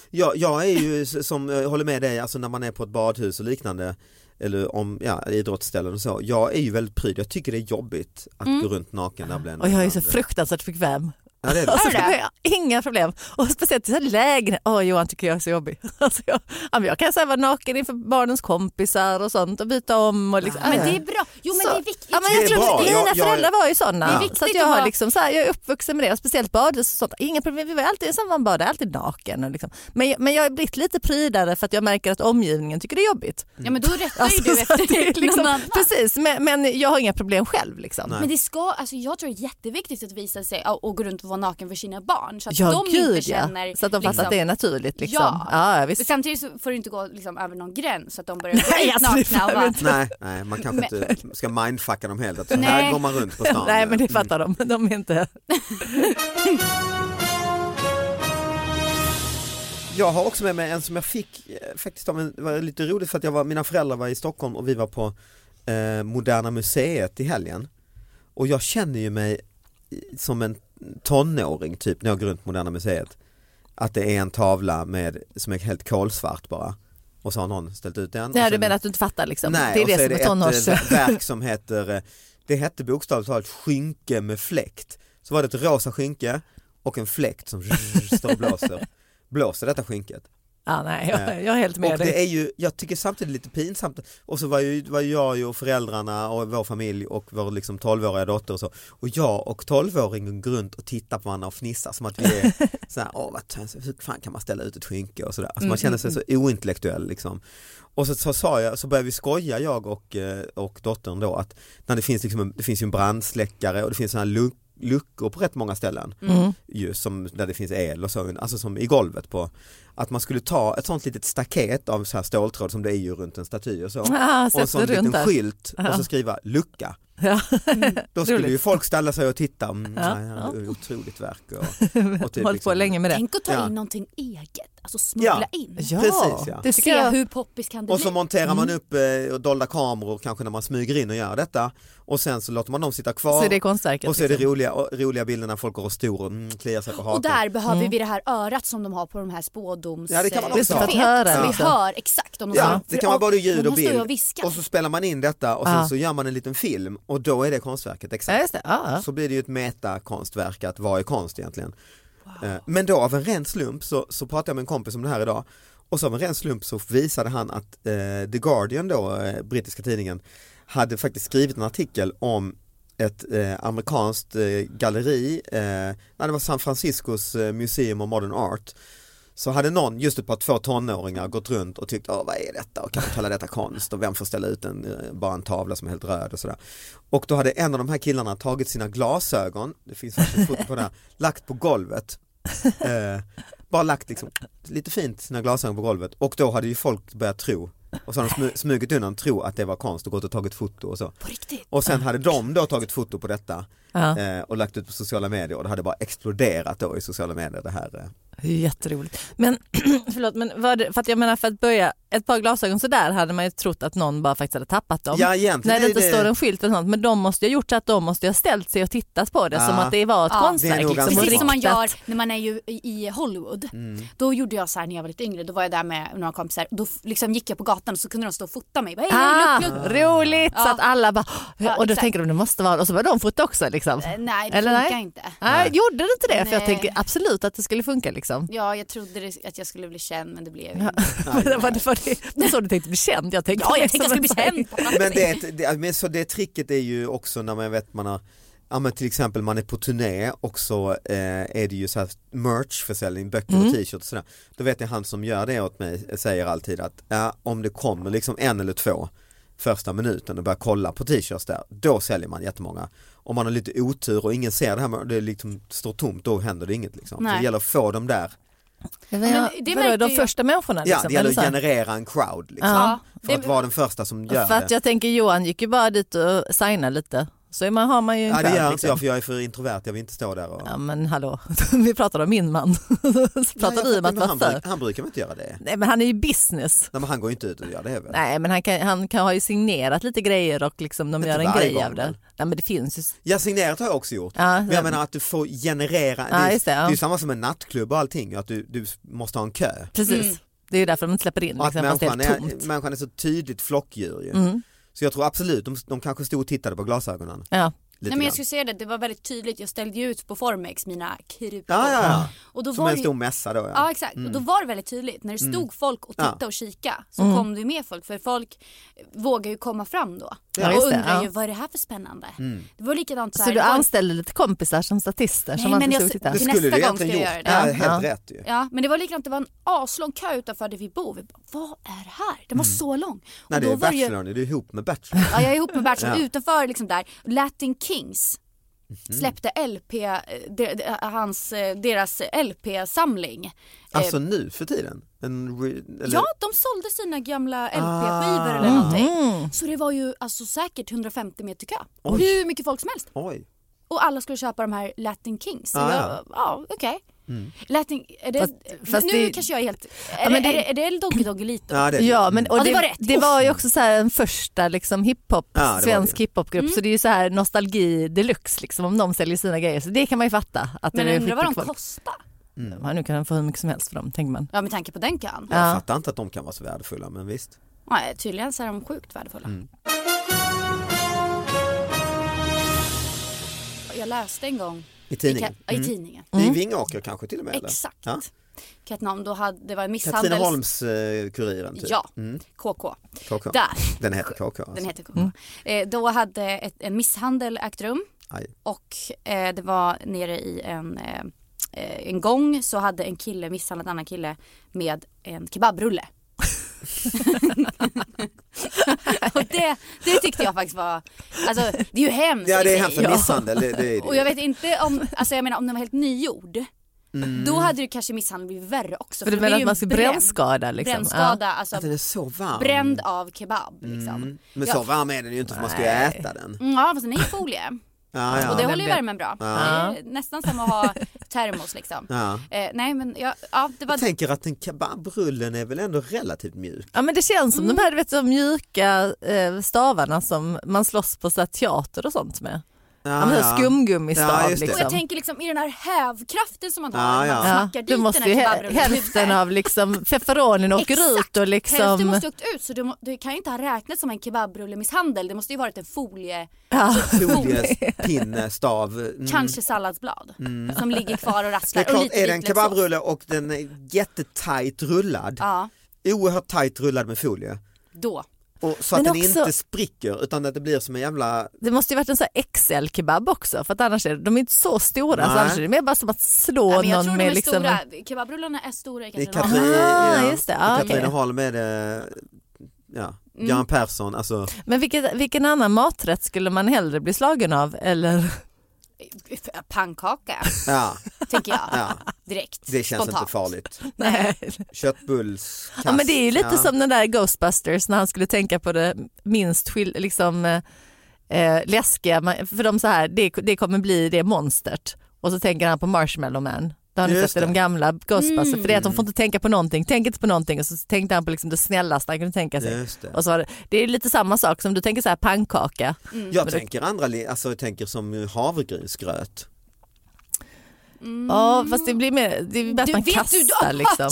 Speaker 2: Ja, jag är ju s- som, jag håller med dig, alltså när man är på ett badhus och liknande eller om ja, idrottsställen och så. Jag är ju väldigt pryd, jag tycker det är jobbigt att gå runt naken där bland
Speaker 1: Och jag är så fruktansvärt bekväm.
Speaker 2: ja, det är det.
Speaker 1: Alltså,
Speaker 3: Är det?
Speaker 1: jag har Inga problem. Och speciellt i så här lägenhet. Åh, Johan tycker jag är så jobbig. Alltså, jag, ja, men jag kan så här vara naken inför barnens kompisar och sånt och byta om. Och liksom.
Speaker 3: Men det är bra. Jo men
Speaker 1: Så-
Speaker 3: det är viktigt.
Speaker 1: Ja, men jag
Speaker 2: Det är
Speaker 1: tror,
Speaker 2: bra.
Speaker 1: Mina
Speaker 2: Jag- jag-
Speaker 1: föräldrar var ju
Speaker 3: Det är
Speaker 1: sådana.
Speaker 3: viktigt
Speaker 1: Så att jag,
Speaker 3: att
Speaker 1: har
Speaker 3: vara-
Speaker 1: liksom så här, jag är uppvuxen med det, och speciellt badhus och sånt. Inga problem, vi var alltid som man badade, alltid naken. Och liksom. men, jag- men jag har blivit lite prydare för att jag märker att omgivningen tycker det är jobbigt.
Speaker 3: Ja men då rättar ju
Speaker 1: Alltså,
Speaker 3: du
Speaker 1: så att det
Speaker 3: efter
Speaker 1: är liksom-
Speaker 3: någon annan.
Speaker 1: Precis, men, men jag har inga problem själv. Liksom.
Speaker 3: Men det ska, alltså jag tror det är jätteviktigt att visa sig och, och gå runt och vara naken för sina barn så att de inte känner
Speaker 1: Så att de fattar
Speaker 3: liksom,
Speaker 1: att det är naturligt. Liksom.
Speaker 3: Ja.
Speaker 1: Ja, ja, visst.
Speaker 3: Samtidigt så får du inte gå liksom, över någon gräns så att de börjar gå
Speaker 1: Nej,
Speaker 3: ut
Speaker 1: alltså, det
Speaker 3: nakna och
Speaker 1: får
Speaker 3: bara,
Speaker 1: vi inte.
Speaker 2: Nej, nej, man kanske inte ska mindfucka dem helt. Att så här
Speaker 3: Nej.
Speaker 2: går man runt på stan. Mm.
Speaker 1: Nej men det fattar de, de är inte...
Speaker 2: Jag har också med mig en som jag fick eh, faktiskt av en, det var lite roligt för att jag var, mina föräldrar var i Stockholm och vi var på eh, Moderna Museet i helgen. Och jag känner ju mig i- som en tonåring typ när jag går runt Moderna Museet. Att det är en tavla med, som är helt kolsvart bara. Och så har någon ställt ut den.
Speaker 1: Nej
Speaker 2: och
Speaker 1: du
Speaker 2: sen-
Speaker 1: menar att du inte fattar liksom?
Speaker 2: Nej,
Speaker 1: det är
Speaker 2: och så
Speaker 1: det som är tonårs...
Speaker 2: ett eh, ver- verk som heter, eh, det hette bokstavligt talat skynke med fläkt. Så var det ett rosa skynke och en fläkt som står och blåser. Blåser detta skynket.
Speaker 1: Ja, nej, jag, jag är helt med
Speaker 2: Och det
Speaker 1: dig.
Speaker 2: är ju, jag tycker samtidigt lite pinsamt, och så var ju var jag ju och föräldrarna och vår familj och vår liksom 12-åriga dotter och så, och jag och 12-åringen går runt och tittar på varandra och fnissar som att vi är så här, åh vad tönt, hur fan kan man ställa ut ett skynke och sådär, alltså
Speaker 1: Mm,
Speaker 2: man känner sig så ointellektuell liksom. Och så, så sa jag, så började vi skoja jag och, eh, och dottern då att när det finns liksom en, det finns ju en brandsläckare och det finns sådana här lunk luckor på rätt många ställen.
Speaker 1: Mm.
Speaker 2: Ju, som där det finns el och så, alltså som i golvet på att man skulle ta ett sånt litet staket av så här ståltråd som det är ju runt en staty och så.
Speaker 1: Ah,
Speaker 2: och en
Speaker 1: sätter
Speaker 2: sån
Speaker 1: runt
Speaker 2: liten
Speaker 1: där.
Speaker 2: skylt och
Speaker 1: Ja.
Speaker 2: så skriva lucka.
Speaker 1: Ja.
Speaker 2: Då skulle
Speaker 1: Roligt.
Speaker 2: ju folk ställa sig och titta, mm,
Speaker 1: Ja,
Speaker 2: nej,
Speaker 1: ja.
Speaker 2: otroligt verk. Och, och
Speaker 1: Hållit
Speaker 2: typ
Speaker 1: på
Speaker 2: liksom-
Speaker 1: länge med det.
Speaker 3: Tänk att ta
Speaker 2: Ja.
Speaker 3: in någonting eget, alltså smuggla in.
Speaker 1: Ja,
Speaker 2: Precis, ja.
Speaker 1: det
Speaker 3: Se
Speaker 1: tycker jag.
Speaker 3: hur poppis kan det
Speaker 2: Och så
Speaker 3: bli?
Speaker 2: monterar
Speaker 1: Mm.
Speaker 2: man upp eh, dolda kameror kanske när man smyger in och gör detta och sen så låter man dem sitta kvar
Speaker 1: Så är det konstverket.
Speaker 2: och så är det
Speaker 1: liksom.
Speaker 2: roliga, och roliga bilder när folk går och stor och mm, kliar sig på hakan.
Speaker 3: Och där behöver
Speaker 1: Mm.
Speaker 3: vi det här örat som de har på de här spådoms...
Speaker 2: Ja, det kan man
Speaker 3: eh,
Speaker 2: också ha.
Speaker 3: vet,
Speaker 1: För att höra,
Speaker 3: Så vi
Speaker 1: liksom.
Speaker 3: hör exakt om de
Speaker 2: Ja,
Speaker 3: ska-
Speaker 2: det
Speaker 3: för
Speaker 2: kan vara
Speaker 3: om-
Speaker 2: både ljud
Speaker 3: de
Speaker 2: och
Speaker 3: här står ju
Speaker 2: bild.
Speaker 3: och viskar.
Speaker 2: Och så spelar man in detta och sen
Speaker 1: Ja.
Speaker 2: så gör man en liten film och då är det konstverket
Speaker 1: Ja,
Speaker 2: exakt.
Speaker 1: just det. Ja, ja.
Speaker 2: Så blir det ju ett metakonstverk att vad är konst egentligen. Eh, Men då av en ren slump så, så pratade jag med en kompis om det här idag och så av en ren slump så visade han att eh, The Guardian då, eh, brittiska tidningen, hade faktiskt skrivit en artikel om ett eh, amerikanskt eh, galleri, eh, nej, det var San Franciscos eh, Museum of Modern Art, så hade någon, just ett par två tonåringar, gått runt och tyckt, Åh, vad är detta och kan man kalla detta konst och vem får ställa ut en, eh, bara en tavla som är helt röd och sådär. Och då hade en av de här killarna tagit sina glasögon, det finns faktiskt ett foto på det här, lagt på golvet. Eh, bara lagt liksom, lite fint sina glasögon på golvet och då hade ju folk börjat tro och så hade de smu- smugit undan tro att det var konst och gått och tagit foto och så.
Speaker 3: På riktigt?
Speaker 2: Och sen hade de då tagit foto på detta
Speaker 1: Ja.
Speaker 2: eh, och lagt ut på sociala medier och det hade bara exploderat då i sociala medier det här. Eh.
Speaker 1: Det är jätteroligt. Men, förlåt, men var det, för att jag menar för att börja, ett par glasögon sådär hade man ju trott att någon bara faktiskt hade tappat dem.
Speaker 2: Ja egentligen
Speaker 1: När det
Speaker 2: är
Speaker 1: inte står en skylt eller sånt, men de måste ju ha gjort så att de måste ju ha ställt sig och tittat på det som
Speaker 2: Ja.
Speaker 1: att det var ett
Speaker 3: Ja,
Speaker 1: konstverk.
Speaker 2: det är nog
Speaker 1: liksom,
Speaker 2: ganska
Speaker 1: och
Speaker 3: Precis som man
Speaker 1: riktat. Mm.
Speaker 3: gör när man är ju i i Hollywood. Då gjorde jag så här när jag var lite yngre, då var jag där med några kompisar och då f- liksom gick jag på gatan och så kunde de stå och fota mig. Bara,
Speaker 1: Ah,
Speaker 3: hey, look, look.
Speaker 1: roligt! Så
Speaker 3: Ja.
Speaker 1: att alla bara,
Speaker 3: Ja,
Speaker 1: och då
Speaker 3: exakt.
Speaker 1: tänker de det måste vara, och så var de fota också liksom.
Speaker 3: Eh, Nej det
Speaker 1: Eller
Speaker 3: funkar
Speaker 1: nej?
Speaker 3: inte.
Speaker 1: Nej, gjorde det inte det? För jag
Speaker 3: Nej.
Speaker 1: tänker absolut att det skulle funka liksom.
Speaker 3: Ja jag trodde det, att jag skulle bli känd men det blev jag
Speaker 1: Ja.
Speaker 3: inte.
Speaker 1: Var det, var det, var det, det var så du tänkte bli känd? Jag tänkte
Speaker 3: Ja jag
Speaker 1: liksom
Speaker 3: tänkte jag skulle bli
Speaker 1: en sån-
Speaker 3: känd. på något
Speaker 2: Men
Speaker 3: sätt.
Speaker 2: det, är ett- det, men så det tricket är ju också när man vet man har Ja men till exempel man är på turné och så eh, är det ju så här merchförsäljning, böcker och t-shirts och sådär. Då vet jag han som gör det åt mig eh, säger alltid att ja, om det kommer liksom en eller två första minuten och börjar kolla på t-shirts där, då säljer man jättemånga. Om man har lite otur och ingen ser det här, men det liksom står tomt, då händer det inget liksom. Så
Speaker 3: Nej.
Speaker 2: det gäller att få dem där,
Speaker 1: Ja,
Speaker 3: Men
Speaker 1: men,
Speaker 3: det
Speaker 1: vadå,
Speaker 3: märkte
Speaker 1: de
Speaker 3: jag-
Speaker 1: första människorna?
Speaker 2: ja
Speaker 1: Liksom,
Speaker 2: det gäller
Speaker 1: eller
Speaker 2: att
Speaker 1: så här?
Speaker 2: generera en crowd liksom.
Speaker 3: Ja.
Speaker 2: För att vara den första som gör
Speaker 1: För att
Speaker 2: det.
Speaker 1: jag tänker Johan gick ju bara dit och signade lite. Så är man, har man ju en
Speaker 2: Ja, det
Speaker 1: crowd,
Speaker 2: gör inte
Speaker 1: liksom.
Speaker 2: jag för jag är för introvert, jag vill inte stå där och
Speaker 1: Ja men hallå, vi pratar om min man. Så pratar
Speaker 2: Nej, jag
Speaker 1: vi om att
Speaker 2: fattar inte,
Speaker 1: vara
Speaker 2: han,
Speaker 1: för.
Speaker 2: bruk- han brukar väl inte göra det?
Speaker 1: Nej men han är ju business.
Speaker 2: Nej men han går ju inte ut och gör det väl?
Speaker 1: Nej men han kan, han kan ha ju signerat lite grejer och liksom de
Speaker 2: Inte
Speaker 1: gör en
Speaker 2: varje
Speaker 1: grej
Speaker 2: gång,
Speaker 1: av det.
Speaker 2: väl?
Speaker 1: Nej men det finns ju.
Speaker 2: Ja signerat har jag också gjort.
Speaker 1: Ja,
Speaker 2: men
Speaker 1: ja.
Speaker 2: jag menar att du får generera,
Speaker 1: Ja,
Speaker 2: det, är,
Speaker 1: just det, ja.
Speaker 2: är ju samma som en nattklubb och allting, att du, du måste ha en kö.
Speaker 1: Precis. Det är ju därför de inte släpper in
Speaker 2: Och att
Speaker 1: liksom, fast det är
Speaker 2: människan
Speaker 1: helt tomt.
Speaker 2: är, människan är så tydligt flockdjur ju.
Speaker 1: Mm.
Speaker 2: Så jag tror absolut, de, de kanske stod och tittade på glasögonen.
Speaker 1: Ja.
Speaker 2: Lite
Speaker 3: Nej men
Speaker 2: grann.
Speaker 3: jag skulle säga det, det var väldigt tydligt. Jag ställde ju ut på Formex mina krukor.
Speaker 2: Ja, ja, ja.
Speaker 3: Och då
Speaker 2: Som
Speaker 3: var
Speaker 2: en
Speaker 3: det-
Speaker 2: stor mässa då ja.
Speaker 3: Ja exakt, och då
Speaker 1: Mm.
Speaker 3: var det väldigt tydligt när det stod folk och
Speaker 2: Ja.
Speaker 3: tittade och kika så kom det ju med folk för folk vågar ju komma fram då
Speaker 1: Ja,
Speaker 3: och
Speaker 1: just det,
Speaker 3: undrar
Speaker 1: ja. Mm.
Speaker 3: ju vad är det här för spännande? Det var likadant
Speaker 1: Så
Speaker 3: här,
Speaker 1: du
Speaker 3: det var-
Speaker 1: anställde lite kompisar som statister som
Speaker 3: Nej,
Speaker 1: alltid
Speaker 3: men
Speaker 1: stod och
Speaker 3: jag s-
Speaker 1: tittade?
Speaker 2: Det
Speaker 3: till
Speaker 2: skulle
Speaker 3: nästa
Speaker 2: du
Speaker 3: gång
Speaker 2: egentligen
Speaker 3: ska
Speaker 2: gjort.
Speaker 3: jag göra det.
Speaker 2: Ja,
Speaker 3: Ja.
Speaker 2: helt rätt ju.
Speaker 3: Ja men det var likadant, det var en aslång kö utanför där vi bor. Vi bara, vad är det här? Den var så lång. Och
Speaker 2: Mm. Nej det är
Speaker 3: då var det ju- Eh,
Speaker 2: Bachelor, nu, du är ihop med Bachelor.
Speaker 3: Ja, jag är ihop med Bachelor
Speaker 2: Ja. Mhm.
Speaker 3: utanför liksom där. Latin Kings släppte LP, eh, de, de, hans, eh, deras LP-samling.
Speaker 2: Alltså nu för tiden? En re- eller- Ah.
Speaker 3: Ja, de sålde sina gamla LP-skivor eller någonting.
Speaker 1: Mm.
Speaker 3: Så det var ju alltså säkert 150 meter kö.
Speaker 2: Mm. Oj.
Speaker 3: Hur mycket folk som helst.
Speaker 2: Oj.
Speaker 3: Och alla skulle köpa de här Latin Kings. Så
Speaker 2: Ah,
Speaker 3: jag,
Speaker 2: ja. Mm.
Speaker 3: ja, okej. Latin, är det,
Speaker 1: Fast- fast
Speaker 3: nu
Speaker 1: det-
Speaker 3: kanske jag är helt, är,
Speaker 1: Ja, men
Speaker 3: det,
Speaker 1: det-
Speaker 3: är, det, är det Doggy Doggy Lito?
Speaker 2: Ja, det,
Speaker 1: Ja, men, och
Speaker 3: Ja, det
Speaker 1: det,
Speaker 3: var rätt.
Speaker 1: det var ju också så här en första liksom, hiphop,
Speaker 2: Ja, det var det.
Speaker 1: svensk hiphopgrupp
Speaker 3: Mm.
Speaker 1: så det är ju så här nostalgi deluxe liksom, om de säljer sina grejer så det kan man ju fatta. Att
Speaker 3: Men
Speaker 1: det är
Speaker 3: undrar vad de
Speaker 1: skitmycket folk. Mm.
Speaker 3: kostar?
Speaker 1: Ja, nu kan de få hur mycket som helst för dem tänker man.
Speaker 3: Ja med tanke på den kön.
Speaker 2: Jag
Speaker 1: Ja.
Speaker 2: fattar inte att de kan vara så värdefulla men visst.
Speaker 3: Nej, tydligen så är de sjukt värdefulla. Jag läste en gång
Speaker 2: I tidningen. Mm.
Speaker 3: i, ka- i tidningen.
Speaker 2: I Vingåker kanske till och med? eller?
Speaker 3: Exakt.
Speaker 2: Ja.
Speaker 3: Katrineholm, då hade, det var en misshandels...
Speaker 2: Katrineholms-kuriren typ?
Speaker 3: Ja, KK.
Speaker 2: KK.
Speaker 3: Där.
Speaker 2: Den heter KK alltså.
Speaker 3: Den heter KK. Eh, då hade ett, en misshandel ägt rum
Speaker 2: Aj.
Speaker 3: och eh, det var nere i en, eh, eh, en gång så hade en kille misshandlat en annan kille med en kebabrulle. och det, det tyckte jag jag faktiskt var, alltså det är ju hemskt.
Speaker 2: Ja
Speaker 3: i
Speaker 2: det är
Speaker 3: sig.
Speaker 2: hemskt med misshandel. Det, det är det.
Speaker 3: Och jag vet inte om, alltså jag menar om den var helt nygjord.
Speaker 2: Mm.
Speaker 3: Då hade ju kanske misshandeln blivit värre också.
Speaker 1: För du
Speaker 3: den
Speaker 1: menar
Speaker 3: blev
Speaker 1: att
Speaker 3: ju
Speaker 1: man ska
Speaker 3: bränd.
Speaker 1: brännskada liksom?
Speaker 3: Brännskada, alltså
Speaker 2: Att den är så varm.
Speaker 3: bränd av kebab liksom.
Speaker 2: Mm. Men
Speaker 3: Ja.
Speaker 2: så varm är den ju inte för man ska ju äta den.
Speaker 3: Mm, Ja fast den är i folie
Speaker 2: Ja,
Speaker 3: och det
Speaker 2: ja.
Speaker 3: håller ju värmen bra. Det är nästan som att ha termos liksom.
Speaker 2: ja.
Speaker 3: Eh, nej men jag, ja det var
Speaker 2: Jag tänker att den kebabrullen är väl ändå relativt mjuk.
Speaker 1: Ja men det känns som
Speaker 2: Mm.
Speaker 1: de här du vet, de mjuka eh, stavarna som man slåss på så här, teater och sånt med. Ja, men
Speaker 2: ja.
Speaker 1: ja. Skumgummistav
Speaker 2: Ja, just det.
Speaker 3: Och jag
Speaker 1: liksom.
Speaker 3: tänker liksom i den här hävkraften som man har
Speaker 2: Ja,
Speaker 3: när man
Speaker 2: ja.
Speaker 3: smackar dit
Speaker 1: du måste ju
Speaker 3: den här
Speaker 1: hä-
Speaker 3: kebabrullen i
Speaker 1: hälften
Speaker 3: huvudet.
Speaker 1: av liksom feferonin åker ut och
Speaker 3: Hälften
Speaker 1: liksom
Speaker 3: måste ju åkt ut så du, må- du kan ju inte ha räknat som en kebabrullemisshandel. Det måste ju varit en folie,
Speaker 1: ja,
Speaker 2: Folie, pinne, stav. Mm.
Speaker 3: kanske salladsblad som ligger kvar och
Speaker 2: Det
Speaker 3: rasslar.
Speaker 2: är klart,
Speaker 3: och lite
Speaker 2: är det en
Speaker 3: vitlökssås.
Speaker 2: kebabrulle och den är jättetajt rullad,
Speaker 3: Ja,
Speaker 2: oerhört tajt rullad med folie,
Speaker 3: då.
Speaker 2: och så att
Speaker 1: Men
Speaker 2: den
Speaker 1: också-
Speaker 2: inte spricker utan att det blir som en jävla
Speaker 1: det måste ju varit en sån här XL-kebab också för att annars är de är inte så stora så
Speaker 2: Nej.
Speaker 1: annars är det mer bara som att slå
Speaker 3: Nej, men jag
Speaker 1: någon
Speaker 3: tror de
Speaker 1: med
Speaker 3: är
Speaker 1: liksom
Speaker 3: stora. Kebabrullarna är stora i
Speaker 2: I
Speaker 3: Katrineholm.
Speaker 2: Katrin,
Speaker 1: Ah,
Speaker 2: ja,
Speaker 1: just det.
Speaker 2: i
Speaker 1: Ah, okej. Mm.
Speaker 2: Katrineholm är det ja, Göran Persson, alltså
Speaker 1: Men vilket, vilken annan maträtt skulle man hellre bli slagen av eller?
Speaker 3: Ah! Pannkaka,
Speaker 2: ja,
Speaker 3: tänker jag.
Speaker 2: ja,
Speaker 3: Direkt.
Speaker 2: det känns
Speaker 3: Spontant.
Speaker 2: inte farligt.
Speaker 1: Nej.
Speaker 2: Köttbullskast.
Speaker 1: Ja, men det är ju lite
Speaker 2: ja.
Speaker 1: som den där Ghostbusters när han skulle tänka på det minst skil- liksom, eh, eh, läskiga, Man- för de så här, det, det kommer bli det monstert. Och så tänker han på Marshmallow Man. Det har ni
Speaker 2: Just
Speaker 1: sett i de
Speaker 2: det.
Speaker 1: gamla Ghostbusters, för det är att
Speaker 3: Mm.
Speaker 1: de får inte tänka på någonting, tänk inte på någonting och så tänkte han på liksom det snällaste han kunde tänka sig.
Speaker 2: Just det.
Speaker 1: Och så var det, det är lite samma sak som du tänker så här pannkaka.
Speaker 2: Jag tänker andra, li- alltså jag tänker som havregrynsgröt.
Speaker 1: Ja fast det blir mer, det är bara att
Speaker 3: Mm. Du
Speaker 1: man
Speaker 3: vet du,
Speaker 1: kastar
Speaker 3: du
Speaker 1: liksom.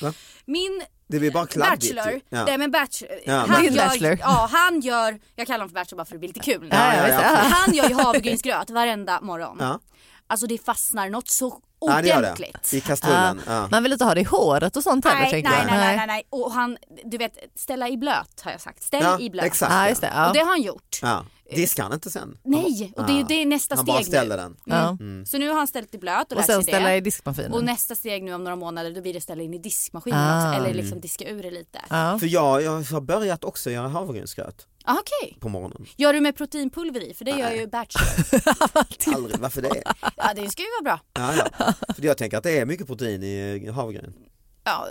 Speaker 2: Va?
Speaker 3: Min
Speaker 2: Det blir bara kladdigt. ju.
Speaker 3: Bachelor,
Speaker 2: Ja.
Speaker 3: nej men bachelor,
Speaker 2: Ja,
Speaker 3: han,
Speaker 2: men-
Speaker 3: gör,
Speaker 1: Bachelor.
Speaker 3: Ja, han gör, jag kallar honom för bachelor bara för att det blir lite kul.
Speaker 1: Ja,
Speaker 2: ja, ja,
Speaker 3: Han gör ju havregrynsgröt varenda morgon.
Speaker 2: Ja.
Speaker 3: Alltså det fastnar något så
Speaker 2: Ja, det gör det.
Speaker 3: ordentligt.
Speaker 2: I
Speaker 1: Ja,
Speaker 2: kastrullen. Ja.
Speaker 1: Man vill inte ha det i håret och sånt heller
Speaker 3: Nej, nej,
Speaker 1: tänker
Speaker 3: nej,
Speaker 1: jag.
Speaker 3: nej, nej, nej. Och han, du vet, ställa i blöt har jag sagt. Ställ
Speaker 2: Ja,
Speaker 3: i blöt.
Speaker 2: exakt.
Speaker 1: Ja, just det, ja.
Speaker 3: Och det har han gjort.
Speaker 2: Ja. Diskar han inte sen?
Speaker 3: Nej, och det är ju
Speaker 2: Ja.
Speaker 3: det är nästa
Speaker 2: Han
Speaker 3: steg
Speaker 2: bara ställer
Speaker 3: nu. Mm.
Speaker 2: den. Mm.
Speaker 1: Ja.
Speaker 3: Så nu har han ställt i blöt och,
Speaker 1: Och
Speaker 3: lärt
Speaker 1: sen
Speaker 3: sig det.
Speaker 1: ställa i diskmaskinen.
Speaker 3: Och nästa steg nu om några månader då blir det ställa in i diskmaskinen
Speaker 1: Ah.
Speaker 3: också, eller liksom diska ur det lite. Ah.
Speaker 1: ja.
Speaker 2: För jag, jag har börjat också göra havregrynsgröt
Speaker 3: Okej,
Speaker 2: på morgonen.
Speaker 3: gör du med proteinpulver i? För det gör ju Bachelor.
Speaker 2: Aldrig, varför det?
Speaker 3: Ja det ska ju vara bra.
Speaker 2: Ja, ja. För jag tänker att det är mycket protein i eh, havregryn.
Speaker 3: Ja,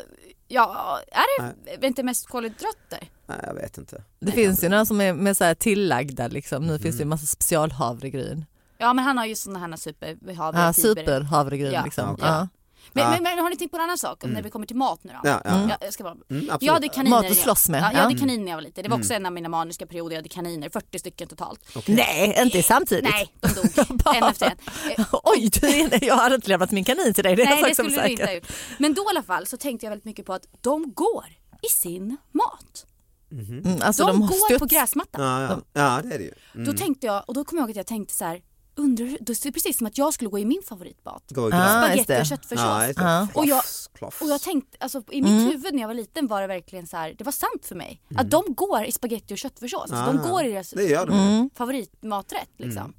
Speaker 3: ja är det inte mest kolhydrater?
Speaker 2: Nej, jag vet inte.
Speaker 1: Det finns ju några som är med så här tillagda liksom. Nu finns det
Speaker 2: Mm.
Speaker 1: ju massa specialhavregryn.
Speaker 3: Ja men han har ju sådana här superhavre
Speaker 1: Ja, superhavregryn
Speaker 3: Ja,
Speaker 1: liksom.
Speaker 2: ja.
Speaker 1: Ja. Mm.
Speaker 3: Men, men, men har ni tänkt på en annan sak när vi kommer till mat nu då?
Speaker 2: Ja, ja.
Speaker 3: Jag, jag ska bara...
Speaker 2: Mm, absolut.
Speaker 3: Jag hade kaniner.
Speaker 1: Mat att slåss med. Mm.
Speaker 3: Ja, jag hade
Speaker 1: Ja.
Speaker 3: kaniner när jag var liten. Det var också en av mina maniska perioder. Jag hade kaniner, 40 stycken totalt.
Speaker 1: Nej, inte samtidigt.
Speaker 3: Nej, de dog. en efter en. Eh,
Speaker 1: Oj, du, nej, jag hade inte lämnat min kanin till dig. Det är en
Speaker 3: Nej,
Speaker 1: sak
Speaker 3: det
Speaker 1: som är
Speaker 3: skulle du inte
Speaker 1: säker.
Speaker 3: ha gjort. Men då i alla fall så tänkte jag väldigt mycket på att de går i sin mat.
Speaker 1: Mm, alltså,
Speaker 3: De,
Speaker 1: de har
Speaker 3: går
Speaker 1: studs-
Speaker 3: på gräsmattan.
Speaker 2: Ja, mm. ja. ja det är det ju.
Speaker 3: Då tänkte jag, och då kommer jag ihåg att jag tänkte så här, undrar hur- då är det precis som att jag skulle gå i min favoritmat.
Speaker 2: Går i
Speaker 1: Ah,
Speaker 2: gräs.
Speaker 1: just
Speaker 3: Spagetti
Speaker 1: det.
Speaker 3: och köttfärssås.
Speaker 2: Ja, just det.
Speaker 1: Ah.
Speaker 3: Och jag-
Speaker 2: Kloffs, kloffs.
Speaker 3: Och jag tänkte, alltså, i mitt
Speaker 1: Mm.
Speaker 3: huvud när jag var liten var det verkligen så här, det var sant för mig. Att de går i spagetti och köttfärssås. Alltså,
Speaker 2: Ja,
Speaker 3: de
Speaker 2: ja.
Speaker 3: går i deras
Speaker 2: Mm. Ah. Det gör de.
Speaker 1: Mm.
Speaker 3: favoritmaträtt liksom.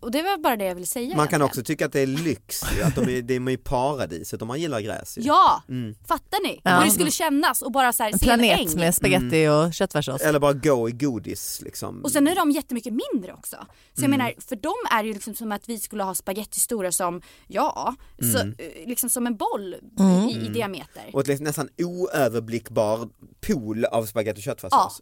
Speaker 3: Och det var bara det jag ville säga.
Speaker 2: Man kan
Speaker 3: egentligen.
Speaker 2: också tycka att det är lyx, ju, att de är, de är i paradiset om man gillar gräs. ju.
Speaker 3: Ja,
Speaker 2: Mm.
Speaker 3: fattar ni?
Speaker 1: Ja.
Speaker 3: Hur det skulle kännas och bara så här,
Speaker 1: En
Speaker 3: se en
Speaker 1: planet
Speaker 3: äng.
Speaker 1: med spagetti och köttfärssås.
Speaker 2: Mm. Eller bara gå i godis liksom.
Speaker 3: Och sen är de jättemycket mindre också. Så jag
Speaker 2: Mm.
Speaker 3: menar, för dem är det ju liksom som att vi skulle ha spagetti stora som, ja, så, eh, liksom som en boll
Speaker 1: Mm.
Speaker 3: i, i diameter.
Speaker 2: Mm. Och ett liksom nästan oöverblickbar pool av spagetti och köttfärssås.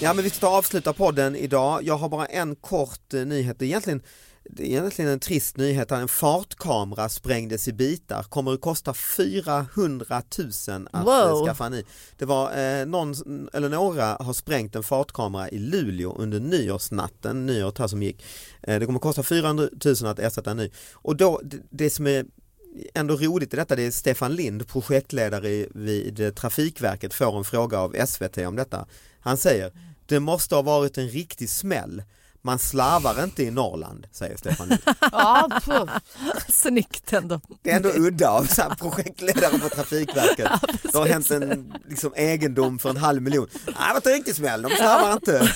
Speaker 2: Ja. men vi ska avsluta podden idag. Jag har bara en kort eh, nyhet. Det är egentligen, det är egentligen en trist nyhet. här. En fartkamera sprängdes i bitar. Kommer att kosta 400 000 att
Speaker 1: Wow.
Speaker 2: wow. skaffa en ny. Det var eh, någon, eller några har sprängt en fartkamera i Luleå under nyårsnatten, nyåret här som gick. Eh, det kommer att kosta 400 000 att ersätta en ny. Och då, det, det som är ändå roligt i detta, det är Stefan Lind, projektledare i- vid Trafikverket, får en fråga av SVT om detta. Han säger, det måste ha varit en riktig smäll. Man slarvar inte i Norrland, säger Stefan Lind.
Speaker 3: Ja, puff.
Speaker 1: Snyggt ändå.
Speaker 2: Det är ändå udda av så här projektledare på Trafikverket. Det har hänt en liksom, egendom för en halv miljon. Nej, det var inte riktigt smäll, de slarvar inte.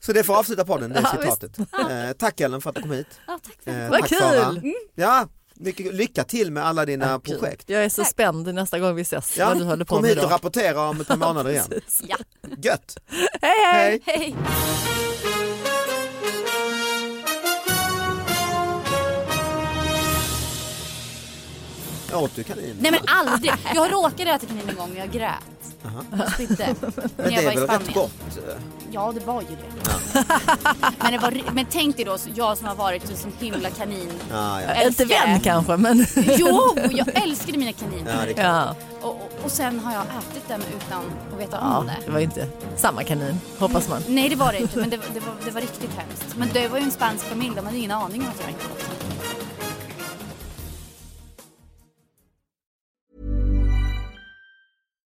Speaker 2: Så det får avsluta podden, det citatet. Eh, tack Ellen för att du kom hit.
Speaker 3: ja, tack för
Speaker 2: Eh,
Speaker 3: det.
Speaker 1: Vad
Speaker 2: tack
Speaker 1: kul.
Speaker 2: Sara. Ja, Mycket lycka till med alla dina
Speaker 1: Ja, kul.
Speaker 2: projekt.
Speaker 1: Jag är så spänd nästa gång vi ses.
Speaker 2: Ja,
Speaker 1: Vad du håller på
Speaker 2: kom
Speaker 1: med
Speaker 2: hit och
Speaker 1: idag.
Speaker 2: rapportera om ett par månader igen.
Speaker 1: Precis.
Speaker 3: Ja.
Speaker 2: Gött!
Speaker 1: Hej hej!
Speaker 2: Hej!
Speaker 3: Hej.
Speaker 2: Åt du kanin?
Speaker 3: Nej men aldrig. Jag råkade äta kanin en gång och jag grät. Jag spydde. När
Speaker 2: men det
Speaker 3: jag var
Speaker 2: är
Speaker 3: i
Speaker 2: väl rätt
Speaker 3: Spanien.
Speaker 2: gott? eh,
Speaker 3: Ja det var ju det. men, det var, men tänk dig då så jag som har varit en sån himla kanin.
Speaker 2: Ja, ja.
Speaker 1: Inte
Speaker 3: älskare.
Speaker 1: vän kanske men
Speaker 3: Jo, jag älskade mina
Speaker 2: Ja,
Speaker 3: kaniner.
Speaker 2: det är klart.
Speaker 1: ja,
Speaker 3: Och, och, och sen har jag ätit dem utan att veta
Speaker 1: ja,
Speaker 3: om det.
Speaker 1: det var ju inte samma kanin hoppas man.
Speaker 3: Nej det var det inte men det, var- det, var, det var riktigt hemskt. Men det var ju en spansk familj, de hade ingen aning om att jag inte åt.